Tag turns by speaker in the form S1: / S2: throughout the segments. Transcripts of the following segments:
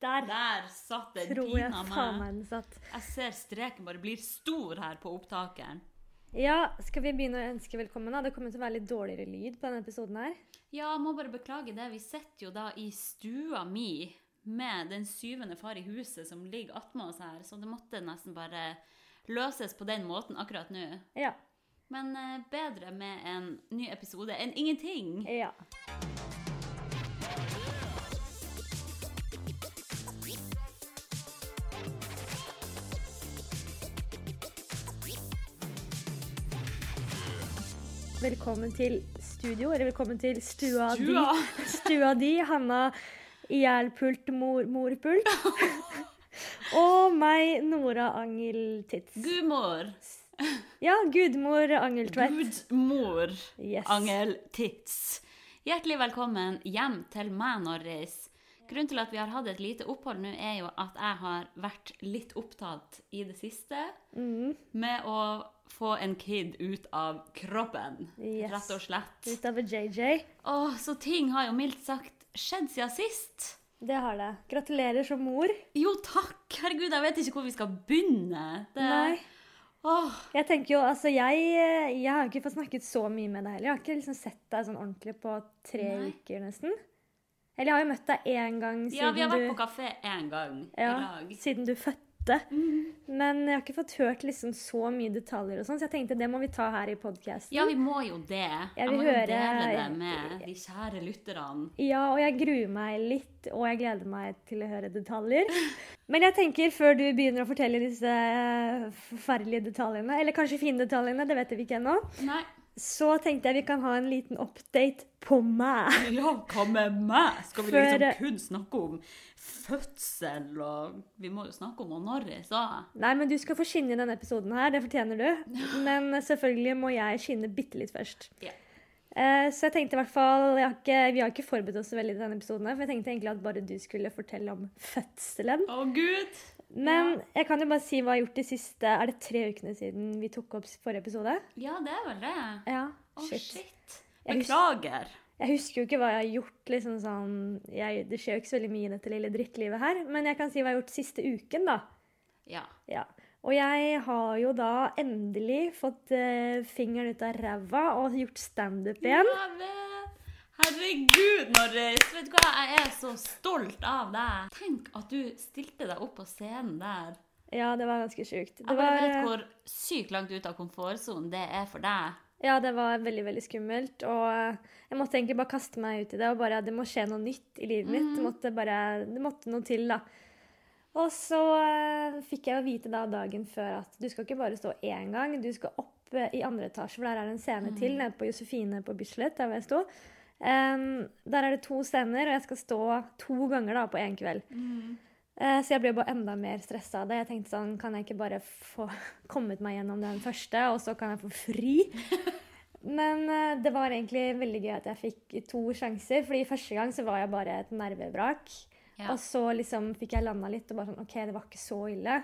S1: Der
S2: Der satt den
S1: tror jeg
S2: pina
S1: faen
S2: meg.
S1: meg den satt.
S2: Jeg ser streken bare blir stor her på opptakeren.
S1: Ja, skal vi begynne å ønske velkommen? da? Det kommer til å være litt dårligere lyd på denne episoden her.
S2: Ja, må bare beklage det. Vi sitter jo da i stua mi med den syvende far i huset som ligger attmed oss her, så det måtte nesten bare løses på den måten akkurat nå.
S1: Ja.
S2: Men eh, bedre med en ny episode enn ingenting.
S1: ja. Velkommen til studio, eller velkommen til stua,
S2: Stua.
S1: di. Stua di, Hanna Ihjelpult mor, Morpult. Og meg, Nora Angeltitz.
S2: Gudmor.
S1: Ja, gudmor Angeltvedt.
S2: Gudmor.
S1: Yes.
S2: Angel Tits. Hjertelig velkommen hjem til meg, Norris. Grunnen til at vi har hatt et lite opphold nå, er jo at jeg har vært litt opptatt i det siste
S1: Mm.
S2: med å få en kid ut av kroppen,
S1: Yes.
S2: rett og slett.
S1: Utover JJ.
S2: Åh, så ting har jo mildt sagt skjedd siden sist.
S1: Det har det. Gratulerer som mor.
S2: Jo, takk! Herregud, jeg vet ikke hvor vi skal begynne. Det...
S1: Nei.
S2: Åh,
S1: Jeg tenker jo, altså jeg, jeg har ikke fått snakket så mye med deg heller. Jeg har ikke liksom sett deg sånn ordentlig på tre
S2: Nei.
S1: uker, nesten. Eller jeg har jo møtt deg én gang siden
S2: ja, vi har vært
S1: du
S2: på kafé én gang
S1: ja,
S2: i dag.
S1: Siden du fødte. Men jeg har ikke fått hørt liksom så mye detaljer og sånn, så jeg tenkte det må vi ta her i podkasten.
S2: Ja, vi må jo det. Jeg,
S1: vil
S2: må
S1: høre-
S2: jo dele det med de kjære lytterne.
S1: Ja, og jeg gruer meg litt, og jeg gleder meg til å høre detaljer. Men jeg tenker, før du begynner å fortelle disse eh, forferdelige detaljene, eller kanskje fine detaljene, det vet vi ikke ennå,
S2: Nei,
S1: så tenkte jeg vi kan ha en liten update på meg.
S2: ja, hva med meg? Skal vi
S1: Før-
S2: liksom kun snakke om fødsel og Vi må jo snakke om Norris òg.
S1: Nei, men du skal få skinne i denne episoden her, det fortjener du. Men selvfølgelig må jeg skinne bitte litt først.
S2: Ja.
S1: Eh, Så jeg tenkte i hvert fall, jeg har ikke, Vi har ikke forberedt oss så veldig til denne episoden, her, for jeg tenkte egentlig at bare du skulle fortelle om fødselen.
S2: Å, gud!
S1: Men jeg kan jo bare si hva jeg har gjort de siste Er det tre ukene siden vi tok opp forrige episode?
S2: Ja, det er vel det.
S1: Ja.
S2: Å,
S1: Shit.
S2: shit.
S1: Jeg hus-
S2: Beklager.
S1: Jeg husker jo ikke hva jeg har gjort. liksom sånn, jeg, Det skjer jo ikke så veldig mye i dette lille drittlivet her, men jeg kan si hva jeg har gjort siste uken, da.
S2: Ja.
S1: Ja. Og jeg har jo da endelig fått eh, fingeren ut av ræva og gjort standup igjen.
S2: Jeg vet. Herregud, Norris! Vet du hva, jeg er så stolt av deg. Tenk at du stilte deg opp på scenen der.
S1: Ja, det var ganske sjukt. Det
S2: Jeg bare
S1: var,
S2: vet
S1: eh,
S2: hvor sykt langt ut av komfortsonen det er for deg.
S1: ja, det var veldig, veldig skummelt. Og eh, jeg måtte egentlig bare kaste meg ut i det. Og bare det må skje noe nytt i livet mitt. Det måtte bare Det måtte noe til, da. Og så eh, fikk jeg jo vite da dagen før at du skal ikke bare stå én gang, du skal opp eh, i andre etasje, for der er det en scene til nede på Josefine på Bislett, der hvor jeg sto. Em, der er det to scener, og jeg skal stå to ganger da på én kveld. Eh, så jeg ble bare enda mer stressa av det. Jeg tenkte sånn, kan jeg ikke bare få kommet meg gjennom den første, og så kan jeg få fri? Men eh, det var egentlig veldig gøy at jeg fikk to sjanser, fordi første gang så var jeg bare et nervevrak.
S2: Ja.
S1: Og så liksom fikk jeg landa litt og bare sånn OK, det var ikke så ille.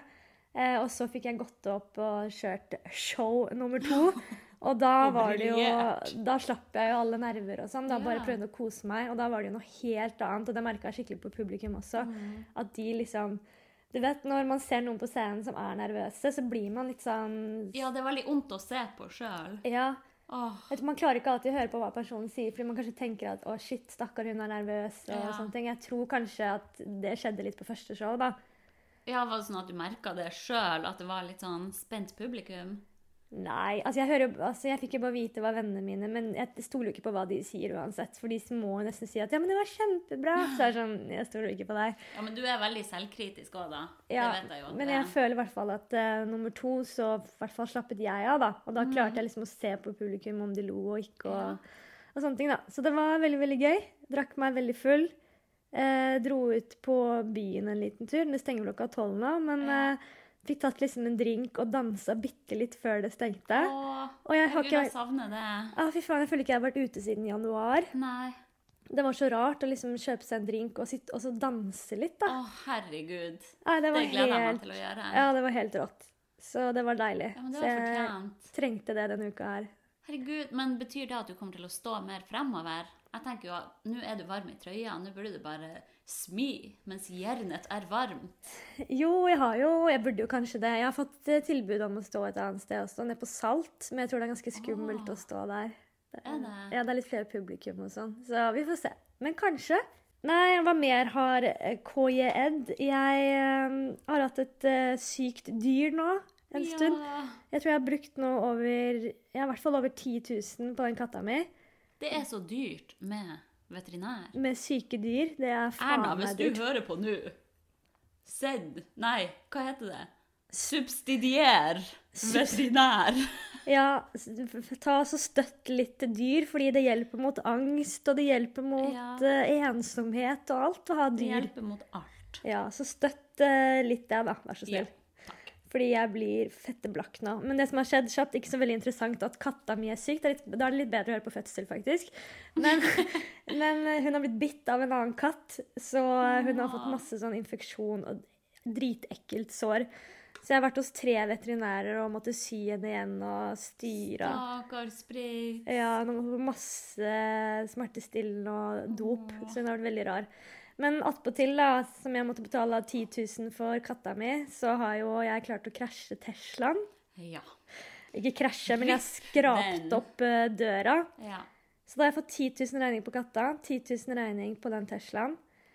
S1: Eh, og så fikk jeg gått opp og kjørt show nummer to. Og da
S2: Og
S1: var det jo
S2: briljert.
S1: Da slapp jeg jo alle nerver og sånn. Da bare
S2: Ja.
S1: prøvde jeg å kose meg, og da var det jo noe helt annet. Og det merka jeg skikkelig på publikum også.
S2: Mm.
S1: At de liksom Du vet, når man ser noen på scenen som er nervøse, så blir man litt sånn
S2: Ja, det er veldig vondt å se på sjøl.
S1: Ja.
S2: Åh,
S1: Jeg tror Man klarer ikke alltid å høre på hva personen sier, fordi man kanskje tenker at 'å, shit, stakkar, hun er nervøs', og
S2: Ja.
S1: sånne ting. Jeg tror kanskje at det skjedde litt på første show, da.
S2: ja, var det sånn at du merka det sjøl, at det var litt sånn spent publikum?
S1: Nei, altså jeg, hører, jo- altså jeg fikk jo bare vite hva vennene mine Men jeg stoler jo ikke på hva de sier uansett. For de må jo nesten si at 'ja, men det var kjempebra'. Så er det sånn, jeg stoler ikke på deg.
S2: Ja, men du er veldig selvkritisk òg, da.
S1: Ja,
S2: det vet jeg jo. at
S1: men
S2: det
S1: jeg
S2: er.
S1: føler i hvert fall at eh, nummer to, så i hvert fall slappet jeg av, da. Og
S2: Mm.
S1: da klarte jeg liksom å se på publikum om de lo og ikke, og, og sånne ting, da. Så det var veldig, veldig gøy. Drakk meg veldig full. Eh, dro ut på byen en liten tur. Det stenger klokka tolv nå, men
S2: Ja.
S1: eh, fikk tatt liksom en drink og dansa bitte litt før det stengte.
S2: Åh,
S1: Og jeg har
S2: herregud, altså.
S1: ikke
S2: jeg savner det.
S1: Ah, fy faen, jeg føler ikke jeg har vært ute siden januar.
S2: Nei.
S1: Det var så rart å liksom kjøpe seg en drink og, sitte, og så danse litt, da.
S2: Å, herregud.
S1: Nei, det
S2: Det
S1: var
S2: gleder jeg meg
S1: helt,
S2: til å gjøre.
S1: ja, det var helt rått. Så det var deilig.
S2: Ja, men det
S1: så
S2: var
S1: jeg
S2: fortjent.
S1: trengte det denne uka her.
S2: Herregud, men betyr det at du kommer til å stå mer fremover? Jeg tenker jo at nå er du varm i trøya, nå burde du bare smi mens jernet er varmt.
S1: Jo, jeg har jo Jeg burde jo kanskje det. Jeg har fått eh, tilbud om å stå et annet sted også, nede på Salt, men jeg tror det er ganske skummelt å stå der.
S2: Ah. Er det?
S1: Ja, det er litt flere publikum og sånn, så vi får se. Men kanskje. Nei, hva mer har eh, KJ Ed? Jeg eh, har hatt et eh, sykt dyr nå en stund.
S2: Ja,
S1: Jeg tror jeg har brukt nå over Ja, i hvert fall over 10 000 på den katta mi.
S2: det er så dyrt med veterinær.
S1: Med syke dyr. Det er faen
S2: Erna, hvis
S1: meg
S2: du
S1: dyrt.
S2: hører på nå Send Nei, hva heter det? Subsidier veterinær.
S1: Ja, s- f- ta og så støtt litt til dyr, fordi det hjelper mot angst, og det hjelper mot
S2: Ja.
S1: eh, ensomhet og alt å ha
S2: Det
S1: dyr.
S2: hjelper mot alt.
S1: Ja, så støtt eh, litt det, da, vær så
S2: Ja,
S1: snill. Fordi jeg blir fette blakk nå. Men det som har skjedd kjapt, ikke så veldig interessant at katta mi er syk. Det er litt, da er det litt bedre å høre på fødsel, faktisk. Men, men eh, hun har blitt bitt av en annen katt, så hun har
S2: Ah.
S1: fått masse sånn infeksjon og dritekkelt sår. Så jeg har vært hos tre veterinærer og måtte sy henne igjen og styre.
S2: Stakkar Sprit.
S1: Ja, hun har fått masse smertestillende og dop, så hun har vært veldig rar. Men attpåtil, da, som jeg måtte betale 10 000 for katta mi, så har jo jeg klart å krasje Teslaen.
S2: Ja.
S1: Ikke krasje, men jeg har
S2: den.
S1: skrapt opp eh, døra.
S2: ja.
S1: Så da har jeg fått 10 000 regning på katta, 10 000 regning på den Teslaen.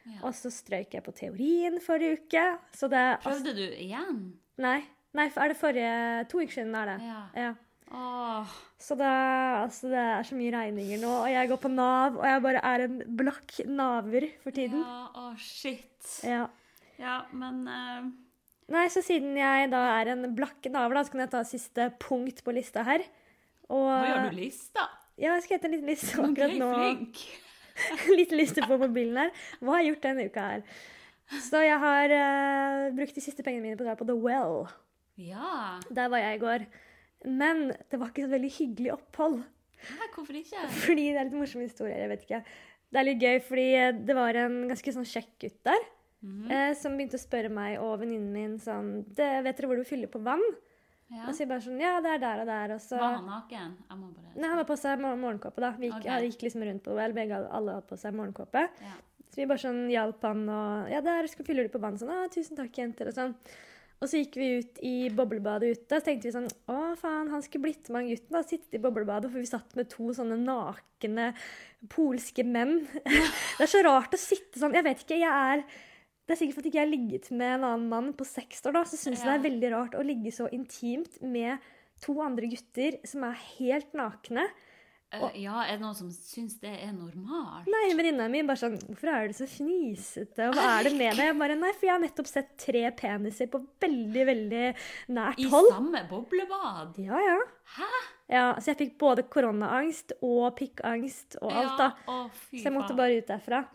S2: Ja.
S1: Og så strøyk jeg på teorien forrige uke. Så det er altså,
S2: Prøvde du igjen?
S1: Nei, nei, er det forrige To uker siden er det.
S2: Ja.
S1: Ja.
S2: Åh.
S1: Så det, er- altså, det er så mye regninger nå, og jeg går på Nav, og jeg bare er en blakk naver for tiden.
S2: Ja, åh, shit.
S1: Ja.
S2: Ja, men eh,
S1: Nei, så siden jeg da er en blakk naver, da, så kan jeg ta siste punkt på lista her. Og
S2: Nå gjør du lista.
S1: Ja, jeg skal hete en liten liste
S2: Ok,
S1: akkurat nå.
S2: flink.
S1: litt liste på mobilen her. Hva har jeg gjort denne uka her? Så jeg har eh, brukt de siste pengene mine på å dra på The Well.
S2: Ja.
S1: Der var jeg i går. Men det var ikke så veldig hyggelig opphold.
S2: Hæ, hvorfor ikke?
S1: Fordi det er litt morsomme historier, jeg vet ikke. Det er litt gøy, fordi eh, det var en ganske sånn kjekk gutt der
S2: Mhm.
S1: eh, som begynte å spørre meg og venninnen min sånn det, 'Vet dere hvor du fyller på vann?'
S2: Ja.
S1: Og så jeg bare sånn 'Ja, det er der og der', og så
S2: Var han naken? Jeg må bare
S1: Nei, han hadde på seg mor morgenkåpe, da. Vi gikk,
S2: Ok.
S1: ja, gikk liksom rundt på OL, begge alle hadde på seg morgenkåpe.
S2: ja.
S1: Så vi bare sånn hjalp han og Ja, der skal fyller du på vann. Sånn, ah, tusen takk, jenter, og sånn. Og så gikk vi ut i boblebadet ute, så tenkte vi sånn Å, faen, han skulle blitt med han gutten, da. Sittet i boblebadet, for vi satt med to sånne nakne polske menn. det er så rart å sitte sånn. Jeg vet ikke, jeg er det er sikkert fordi ikke jeg har ligget med en annen mann på seks år, da, så syns jeg det
S2: Ja.
S1: er veldig rart å ligge så intimt med to andre gutter som er helt nakne.
S2: Eh, ja, er det noen som syns det er normalt?
S1: Nei, venninna mi bare sånn Hvorfor er du så fnisete, og hva er det med deg? Jeg bare nei, for jeg har nettopp sett tre peniser på veldig, veldig nært
S2: I
S1: hold.
S2: samme boblebad?
S1: Ja, ja.
S2: Hæ?
S1: ja så jeg fikk både koronaangst og pikkangst og alt, da.
S2: Ja, å, fy
S1: Så jeg måtte
S2: faen.
S1: bare ut derfra.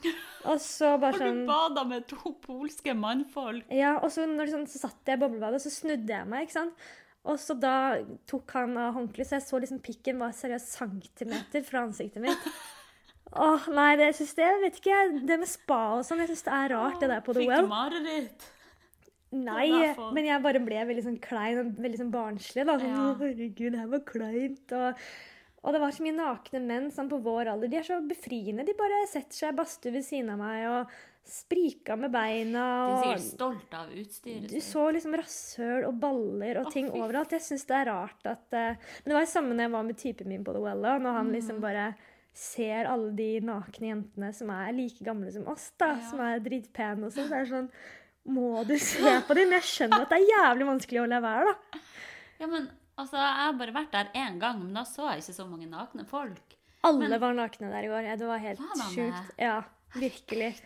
S1: Og så bare
S2: Har
S1: sånn
S2: du bada med to polske mannfolk?
S1: Ja, og så, når, det sånn, så satt jeg i boblebadet, og så snudde jeg meg, ikke sant. Og så da tok han av håndkleet, så jeg så liksom pikken var seriøst centimeter fra ansiktet mitt. Åh, nei, det jeg synes det, jeg vet ikke, det med spa og sånn, jeg synes det er rart det der på The
S2: Fikk
S1: Well.
S2: du mareritt?
S1: Nei,
S2: I hvert fall.
S1: men jeg bare ble veldig sånn klein og veldig sånn barnslig. da. Sånn,
S2: Ja.
S1: «Å, Herregud, det her var kleint. Og, og det var så mye nakne menn sånn på vår alder. De er så befriende. De bare setter seg i badstue ved siden av meg og sprika med beina.
S2: Du er sikkert
S1: Og
S2: stolt av utstyret.
S1: du
S2: sitt.
S1: så liksom rasshøl og baller og
S2: Å,
S1: ting
S2: fy.
S1: overalt. Jeg syns det er rart at eh, Men det var det samme når jeg var med typen min på The Well, da, når han liksom
S2: Mm.
S1: bare ser alle de nakne jentene som er like gamle som oss, da,
S2: Ja.
S1: som er dritpene og sånn. Så er det sånn Må du se på dem? Jeg skjønner at det er jævlig vanskelig å la være, da.
S2: Ja, men altså, Jeg har bare vært der én gang, men da så jeg ikke så mange nakne folk.
S1: Alle var nakne der i går. Ja, det var helt
S2: Faen, Anne.
S1: sjukt. Ja, virkelig.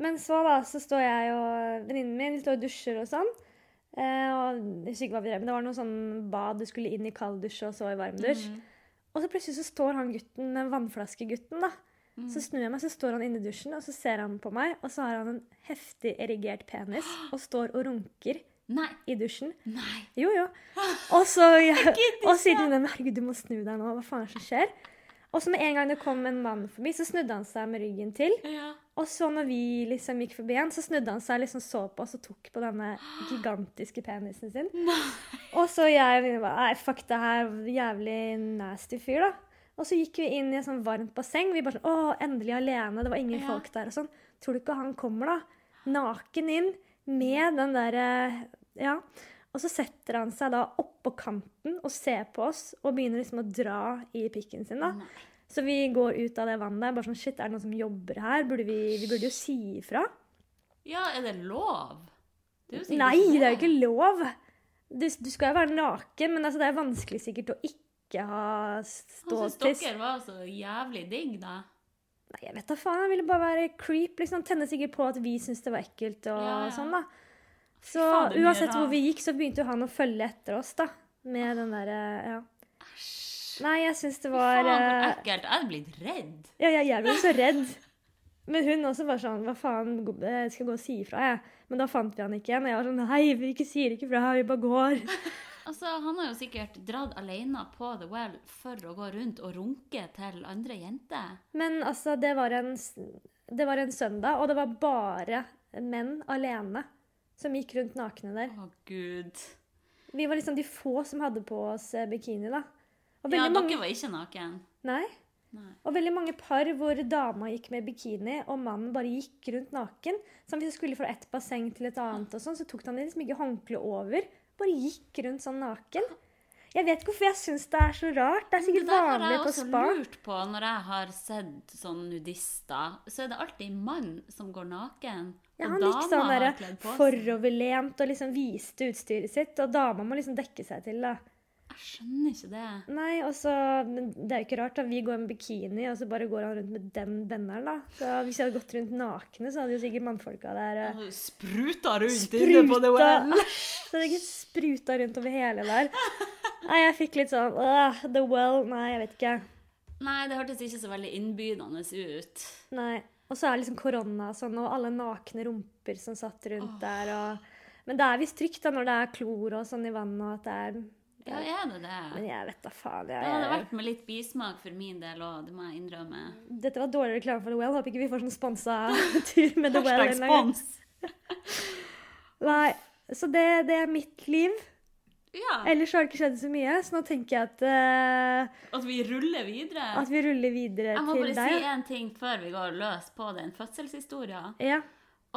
S1: Men så, da, så står jeg og venninnen min vi står og dusjer og sånn. Eh, og jeg husker ikke hva vi drev med. Det var noe sånn bad du skulle inn i kalddusj og så i varmdusj. Og så plutselig så står han gutten, den vannflaskegutten, da. Så snur jeg meg, så står han inne i dusjen, og så ser han på meg, og så har han en heftig erigert penis og står og runker
S2: Nei,
S1: i dusjen.
S2: nei.
S1: Jo, jo. Og så,
S2: gidder
S1: og så sier hun herregud, du må snu deg nå, hva faen er det som skjer? Og så med en gang det kom en mann forbi, så snudde han seg med ryggen til.
S2: Ja.
S1: Og så når vi liksom gikk forbi han, så snudde han seg liksom så på oss og tok på denne gigantiske penisen sin. Og så jeg og venninna bare Nei, fuck det her, jævlig nasty fyr, da. Og Og så gikk vi inn i et sånn varmt basseng. Vi bare sånn, å, endelig alene, det var ingen
S2: Ja.
S1: folk der og sånn. Tror du ikke han kommer da? Naken inn, med den der, eh, ja. Og så setter han seg da opp på kanten og ser på oss, og begynner liksom å dra i pikken sin da.
S2: Nei.
S1: Så vi går ut av det vannet der, bare sånn, shit, er det noen som jobber her? Burde vi, vi burde jo si ifra.
S2: Ja, er det lov? Det er jo sikkert
S1: Nei, det er jo ikke lov! Du, du skal jo være naken, men altså, det er vanskelig sikkert å ikke ha
S2: Han syntes
S1: ståtiss.
S2: Altså, dere var så jævlig digg, da.
S1: Nei, jeg vet da faen. Jeg ville bare være creep. liksom. Tenne sikkert på at vi syntes det var ekkelt og
S2: Ja, ja.
S1: sånn, da. Så
S2: faen, det er mye
S1: uansett hvor
S2: rart.
S1: vi gikk, så begynte jo han å følge etter oss, da. Med den derre Ja.
S2: Æsj.
S1: Nei, jeg syns det
S2: Fy
S1: var
S2: faen, hvor
S1: eh,
S2: ekkelt. Jeg er blitt redd.
S1: Ja, ja, jeg ble så redd. Men hun også var sånn Hva faen, gå- jeg skal gå og si ifra, jeg. Men da fant vi han ikke igjen. Og jeg var sånn Nei, vi ikke sier ikke fra, vi bare går.
S2: Altså, Han har jo sikkert dratt alene på The Well for å gå rundt og runke til andre jenter.
S1: Men altså, det var en, s- det var en søndag, og det var bare menn alene som gikk rundt nakne der.
S2: Å, gud.
S1: Vi var liksom de få som hadde på oss eh, bikini, da. Og
S2: Ja,
S1: veldig, mange,
S2: dere var ikke naken.
S1: nei,
S2: Nei.
S1: og veldig mange par hvor dama gikk med bikini, og mannen bare gikk rundt naken. Så hvis du skulle fra et basseng til et annet, og sånn, så tok han liksom ikke håndkleet over. Bare gikk rundt sånn naken. Jeg vet ikke hvorfor jeg syns det er så rart. Det er
S2: Det
S1: sikkert
S2: der har
S1: vanlig
S2: jeg
S1: på
S2: også
S1: spa.
S2: lurt på når jeg har sett sånne nudister. Så er det alltid mann som går naken,
S1: Ja,
S2: og
S1: han gikk
S2: dama
S1: sånn
S2: har
S1: der,
S2: kledd på seg.
S1: foroverlent og liksom viste utstyret sitt, og dama må liksom dekke seg til, da.
S2: Jeg skjønner ikke det.
S1: Nei, og så Men det er jo ikke rart, da. Vi går med bikini, og så bare går han rundt med den benderen, da. Så hvis jeg hadde gått rundt nakne, så hadde jo sikkert mannfolka der eh,
S2: Spruta rundt inne på The
S1: spruta
S2: Well.
S1: Så hadde ikke spruta rundt over hele der. Nei, jeg fikk litt sånn «Åh, The well Nei, jeg vet ikke.
S2: Nei, det hørtes ikke så veldig innbydende ut.
S1: Nei. Og så er liksom korona og sånn, og alle nakne rumper som satt rundt der, og Men det er visst trygt, da, når det er klor og sånn i vannet, og at det er
S2: Ja, er det det?
S1: Men jeg vet da faen. Jeg,
S2: Det hadde vært med litt bismak for min del òg, det må jeg innrømme.
S1: Dette var dårlig reklame for The Well. Håper ikke vi får sånn sponsa tur med The Well. en eller annen gang. Nei, så det, det er mitt liv.
S2: Ja,
S1: Ellers har det ikke skjedd så mye, så nå tenker jeg at, eh,
S2: at vi ruller videre.
S1: at vi ruller videre
S2: Jeg må
S1: til
S2: bare si
S1: deg.
S2: én ting før vi går løs på den fødselshistorien.
S1: Ja.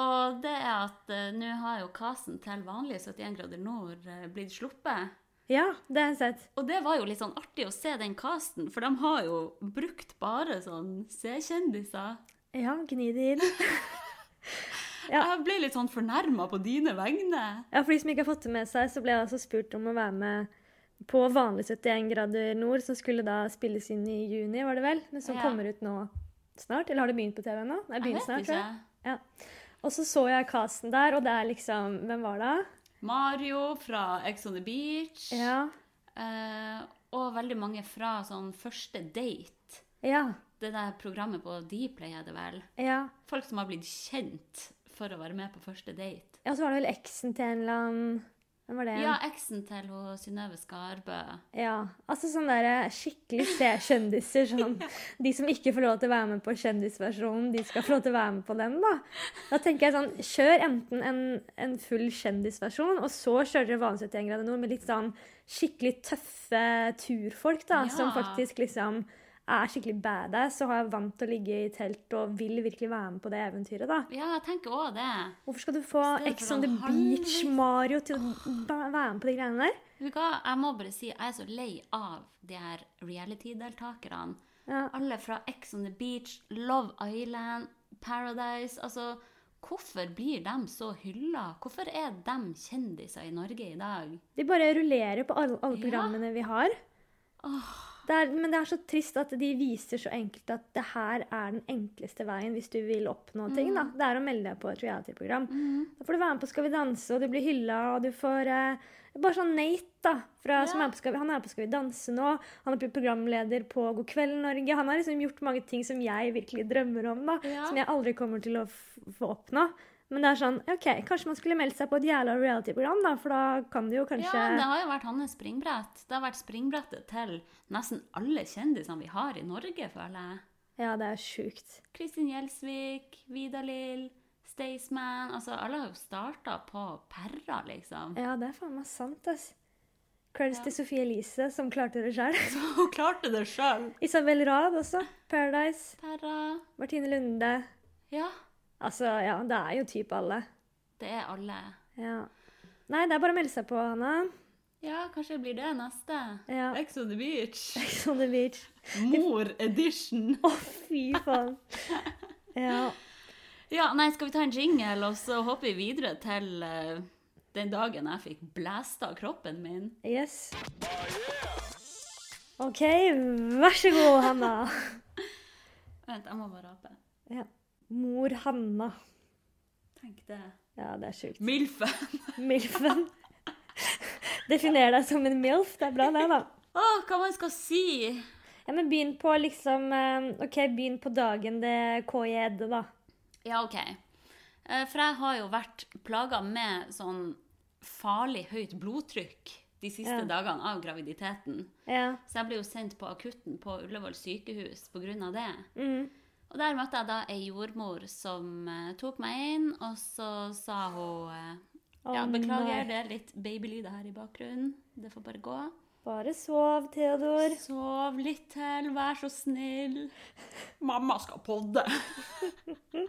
S2: Og det er at eh, nå har jo kasen til vanlig 71 grader nord eh, blitt sluppet.
S1: ja, det har jeg sett.
S2: Og det var jo litt sånn artig å se den casten, for de har jo brukt bare sånn C-kjendiser.
S1: Ja, gni det inn. Ja.
S2: Jeg ble litt sånn fornærma på dine vegne.
S1: Ja, For de som ikke har fått det med seg, så ble jeg altså spurt om å være med på vanlig 71 grader nord, som skulle da spilles inn i juni, var det vel? Men som
S2: Ja.
S1: kommer ut nå snart? Eller har det begynt på TV nå? Nei,
S2: Jeg
S1: begynner
S2: vet
S1: snart, tror
S2: ikke.
S1: jeg. Ja. Og så så jeg casten der, og det er liksom Hvem var det?
S2: Mario fra Ex on the Beach.
S1: Ja.
S2: eh, og veldig mange fra sånn første date.
S1: Ja.
S2: Det der programmet på Dplay er det vel.
S1: Ja.
S2: Folk som har blitt kjent for å være med på første date.
S1: ja så var det vel eksen til en eller annen Hvem var det?
S2: Ja, eksen til hun Synnøve Skarbø.
S1: ja. Altså sånn derre skikkelig C-kjendiser. Sånn. De som ikke får lov til å være med på kjendisversjonen, de skal få lov til å være med på den, da. Da tenker jeg sånn Kjør enten en, en full kjendisversjon, og så kjører dere vanlig 71 grader nord med litt sånn skikkelig tøffe turfolk, da,
S2: Ja.
S1: som faktisk liksom er skikkelig badass og har vant til å ligge i telt og vil virkelig være med på det eventyret, da.
S2: Ja, jeg tenker òg det.
S1: Hvorfor skal du få
S2: Stedet
S1: Ex
S2: for
S1: on the
S2: sånn
S1: Beach,
S2: halvveis.
S1: Mario, til å ba- være med på de greiene der?
S2: Vet du hva, jeg må bare si jeg er så lei av de her reality-deltakerne.
S1: Ja.
S2: Alle fra Ex on the Beach, Love Island, Paradise. Altså, hvorfor blir de så hylla? Hvorfor er de kjendiser i Norge i dag?
S1: De bare rullerer på alle, alle
S2: Ja.
S1: programmene vi har. Det er, men det er så trist at de viser så enkelt at det her er den enkleste veien hvis du vil oppnå ting. da. Det er å melde deg på et reality-program. Da får du være med på Skal vi danse, og du blir hylla, og du får eh, Bare sånn Nate, da. Fra, som
S2: Ja.
S1: er på Skal vi, han er på Skal vi danse nå. Han er programleder på God kveld, Norge. Han har liksom gjort mange ting som jeg virkelig drømmer om, da.
S2: Ja.
S1: Som jeg aldri kommer til å f få oppnå. Men det er sånn, ok, kanskje man skulle meldt seg på et jævla reality-program, da, for da kan du jo kanskje
S2: Ja, det har jo vært hans springbrett. Det har vært springbrettet til nesten alle kjendisene vi har i Norge, føler jeg.
S1: Ja, det er sjukt.
S2: Kristin Gjelsvik, Vidar-Lill, Staysman Altså, alle har jo starta på perra, liksom.
S1: Ja, det er faen meg sant, ass. Creds til Sophie Elise, som klarte det sjøl.
S2: Så hun klarte det sjøl.
S1: Isabel Rad også. Paradise.
S2: Tara.
S1: Martine Lunde.
S2: Ja.
S1: Altså, ja, det er jo type alle.
S2: Det er alle.
S1: Ja. Nei, det er bare å melde seg på, Hanna.
S2: Ja, kanskje blir det neste.
S1: Ja.
S2: Ex on the beach.
S1: Ex on the beach.
S2: Mor edition.
S1: Å, fy faen. Ja.
S2: Ja, nei, skal vi ta en jingle, og så hopper vi videre til eh, den dagen jeg fikk blæsta av kroppen min.
S1: Yes. OK, vær så god, Hanna.
S2: Vent, jeg må bare rape.
S1: Ja. Mor Hanna.
S2: Tenk det.
S1: Ja, det er sjukt.
S2: Milfen.
S1: Milfen. Definer deg som en milf. Det er bra, det, da.
S2: Å, hva man skal si?
S1: Ja, men begynn på liksom eh, OK, begynn på dagen det KJ edde, da.
S2: Ja, OK. Eh, For jeg har jo vært plaga med sånn farlig høyt blodtrykk de siste
S1: Ja.
S2: dagene av graviditeten.
S1: Ja.
S2: Så jeg ble jo sendt på akutten på Ullevål sykehus pga. det.
S1: Mm.
S2: Og der møtte jeg da ei jordmor som eh, tok meg inn, og så sa hun eh,
S1: Å,
S2: Ja, beklager,
S1: nei.
S2: det er litt babylyder her i bakgrunnen. Det får bare gå.
S1: Bare sov, Theodor.
S2: Sov litt til, vær så snill. Mamma skal podde.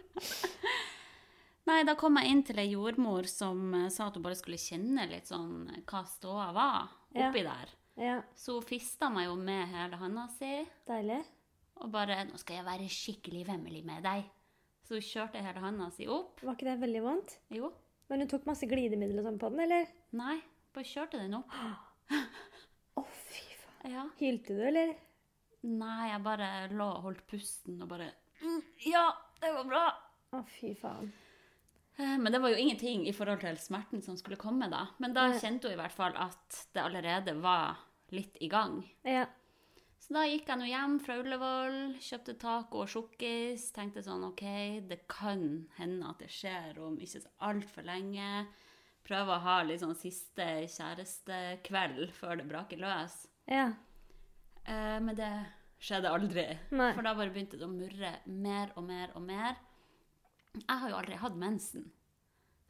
S2: Nei, da kom jeg inn til ei jordmor som eh, sa at hun bare skulle kjenne litt sånn hva ståa var
S1: Ja.
S2: oppi der.
S1: Ja,
S2: Så hun fista meg jo med hele handa si
S1: deilig.
S2: og bare 'Nå skal jeg være skikkelig vemmelig med deg'. Så hun kjørte hele handa si opp.
S1: Var ikke det veldig vondt?
S2: Jo.
S1: Men hun tok masse glidemiddel og sånn på den, eller?
S2: Nei, bare kjørte den opp.
S1: Å, fy faen.
S2: Ja.
S1: Hylte du, eller?
S2: Nei, jeg bare lå og holdt pusten og bare «Mm, Ja, det går bra!
S1: Å, fy faen.
S2: Eh, Men det var jo ingenting i forhold til smerten som skulle komme, da. Men da
S1: Nei.
S2: kjente hun i hvert fall at det allerede var litt i gang.
S1: Ja.
S2: Så da gikk jeg nå hjem fra Ullevål, kjøpte taco og sjokkis. Tenkte sånn OK, det kan hende at det skjer om ikke så altfor lenge. Prøve å ha litt sånn siste kjærestekveld før det braker løs.
S1: Ja.
S2: Eh, men det skjedde aldri.
S1: Nei.
S2: For da bare begynte det å murre mer og mer og mer. Jeg har jo aldri hatt mensen.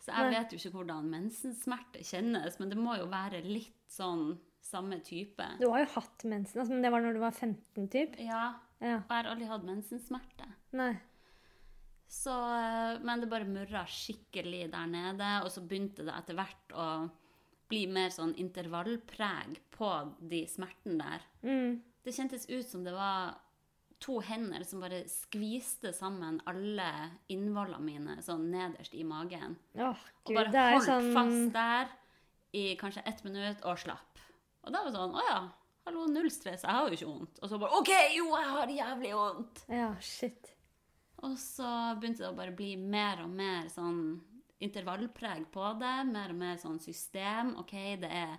S2: Så jeg
S1: Nei.
S2: vet jo ikke hvordan mensensmerte kjennes, men det må jo være litt sånn samme type.
S1: Du har jo hatt mensen, altså, men det var når du var 15, typ.
S2: Ja,
S1: Ja.
S2: og jeg har aldri hatt mensensmerte.
S1: Nei.
S2: Så, eh, men det bare murra skikkelig der nede, og så begynte det etter hvert å bli mer sånn intervallpreg på de smertene der.
S1: Mm.
S2: Det kjentes ut som det var to hender som bare skviste sammen alle innvollene mine sånn nederst i magen.
S1: Åh,
S2: Og
S1: gud.
S2: bare
S1: Det er jo
S2: holdt
S1: sånn
S2: fast der i kanskje ett minutt og slapp. Og da var det sånn Å ja, hallo, null stress, jeg har jo ikke vondt. Og så bare OK, jo, jeg har jævlig vondt.
S1: Ja, shit.
S2: Og så begynte det å bare bli mer og mer sånn intervallpreg på det. Mer og mer sånn system. OK, det er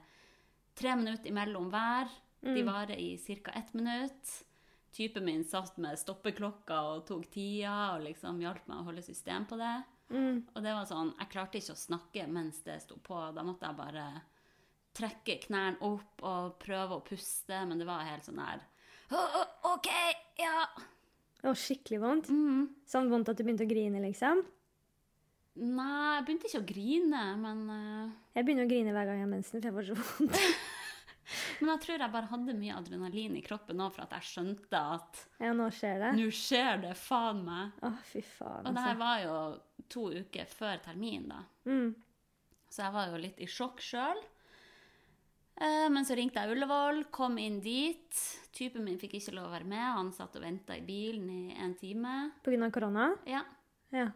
S2: tre minutter imellom hver. De varer i ca. ett minutt. Typen min satt med stoppeklokka og tok tida og liksom hjalp meg å holde system på det.
S1: Mm.
S2: Og det var sånn, jeg klarte ikke å snakke mens det sto på. Da måtte jeg bare trekke knærne opp og prøve å puste, men det var helt sånn her «Å, å, OK, ja.
S1: Å, skikkelig vondt.
S2: Mm.
S1: Sånn vondt at du begynte å grine, liksom.
S2: Nei, jeg begynte ikke å grine, men, eh,
S1: Jeg begynner å grine hver gang jeg har mensen, for jeg får så vondt.
S2: men jeg tror jeg bare hadde mye adrenalin i kroppen nå for at jeg skjønte at
S1: Ja, nå skjer det.
S2: nå skjer det, faen meg.
S1: Å, fy faen,
S2: Og det her
S1: altså.
S2: var jo to uker før termin, da.
S1: Mm.
S2: Så jeg var jo litt i sjokk sjøl. Men så ringte jeg Ullevål, kom inn dit. Typen min fikk ikke lov å være med. Han satt og venta i bilen i en time.
S1: På grunn av korona?
S2: Ja.
S1: Ja.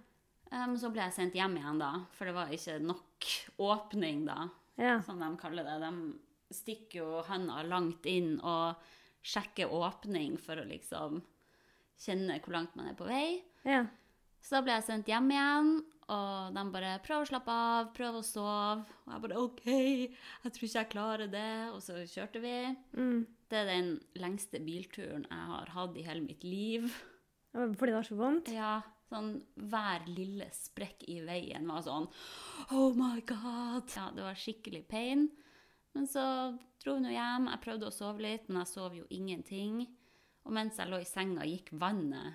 S2: Eh, Men så ble jeg sendt hjem igjen, da. For det var ikke nok åpning, da.
S1: Ja.
S2: som de kaller det. De stikker jo handa langt inn og sjekker åpning for å liksom kjenne hvor langt man er på vei.
S1: Ja.
S2: Så da ble jeg sendt hjem igjen, og de bare 'prøv å slappe av, prøv å sove'. Og jeg bare 'OK, jeg tror ikke jeg klarer det'. Og så kjørte vi.
S1: Mm.
S2: Det er den lengste bilturen jeg har hatt i hele mitt liv.
S1: Det var Fordi det var så vondt?
S2: Ja, sånn hver lille sprekk i veien var sånn Oh my god! Ja, det var skikkelig pain. Men så dro hun jo hjem. Jeg prøvde å sove litt, men jeg sov jo ingenting. Og mens jeg lå i senga, gikk vannet.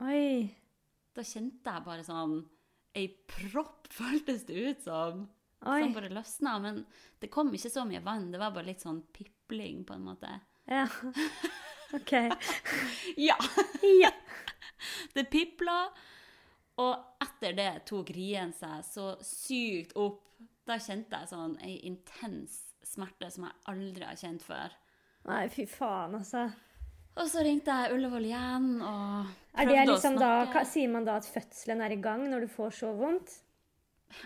S1: Oi.
S2: Da kjente jeg bare sånn Ei propp føltes det ut som.
S1: Oi.
S2: som bare løsna. Men det kom ikke så mye vann, det var bare litt sånn pipling, på en måte.
S1: Ja. OK.
S2: Ja!
S1: Ja.
S2: Det pipla, og etter det tok rien seg så sykt opp. Da kjente jeg sånn ei intens smerte som jeg aldri har kjent før.
S1: Nei, fy faen, altså.
S2: Og så ringte jeg Ullevål igjen og
S1: Er det
S2: prøvde
S1: liksom
S2: å
S1: da,
S2: snakke.
S1: hva- Sier man da at fødselen er i gang når du får så vondt?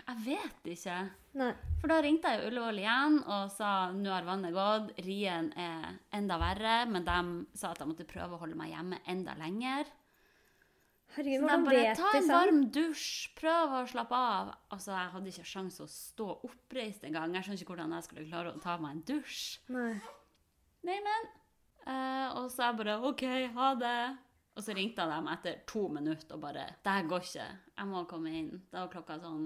S2: Jeg vet ikke.
S1: Nei.
S2: For da ringte jeg Ullevål igjen og sa nå har vannet gått, rien er enda verre, men de sa at jeg måtte prøve å holde meg hjemme enda lenger.
S1: Herregud,
S2: Så de
S1: hvordan
S2: bare
S1: Sånn vet
S2: ta
S1: de
S2: en
S1: sånn?
S2: varm dusj, prøv å slappe av. Altså, jeg hadde ikke sjanse å stå oppreist engang. Jeg skjønner ikke hvordan jeg skulle klare å ta meg en dusj.
S1: Nei.
S2: Nei, men. Eh, og så jeg bare OK, ha det. Og så ringte jeg dem etter to minutter og bare Det her går ikke. Jeg må komme inn. Da var klokka sånn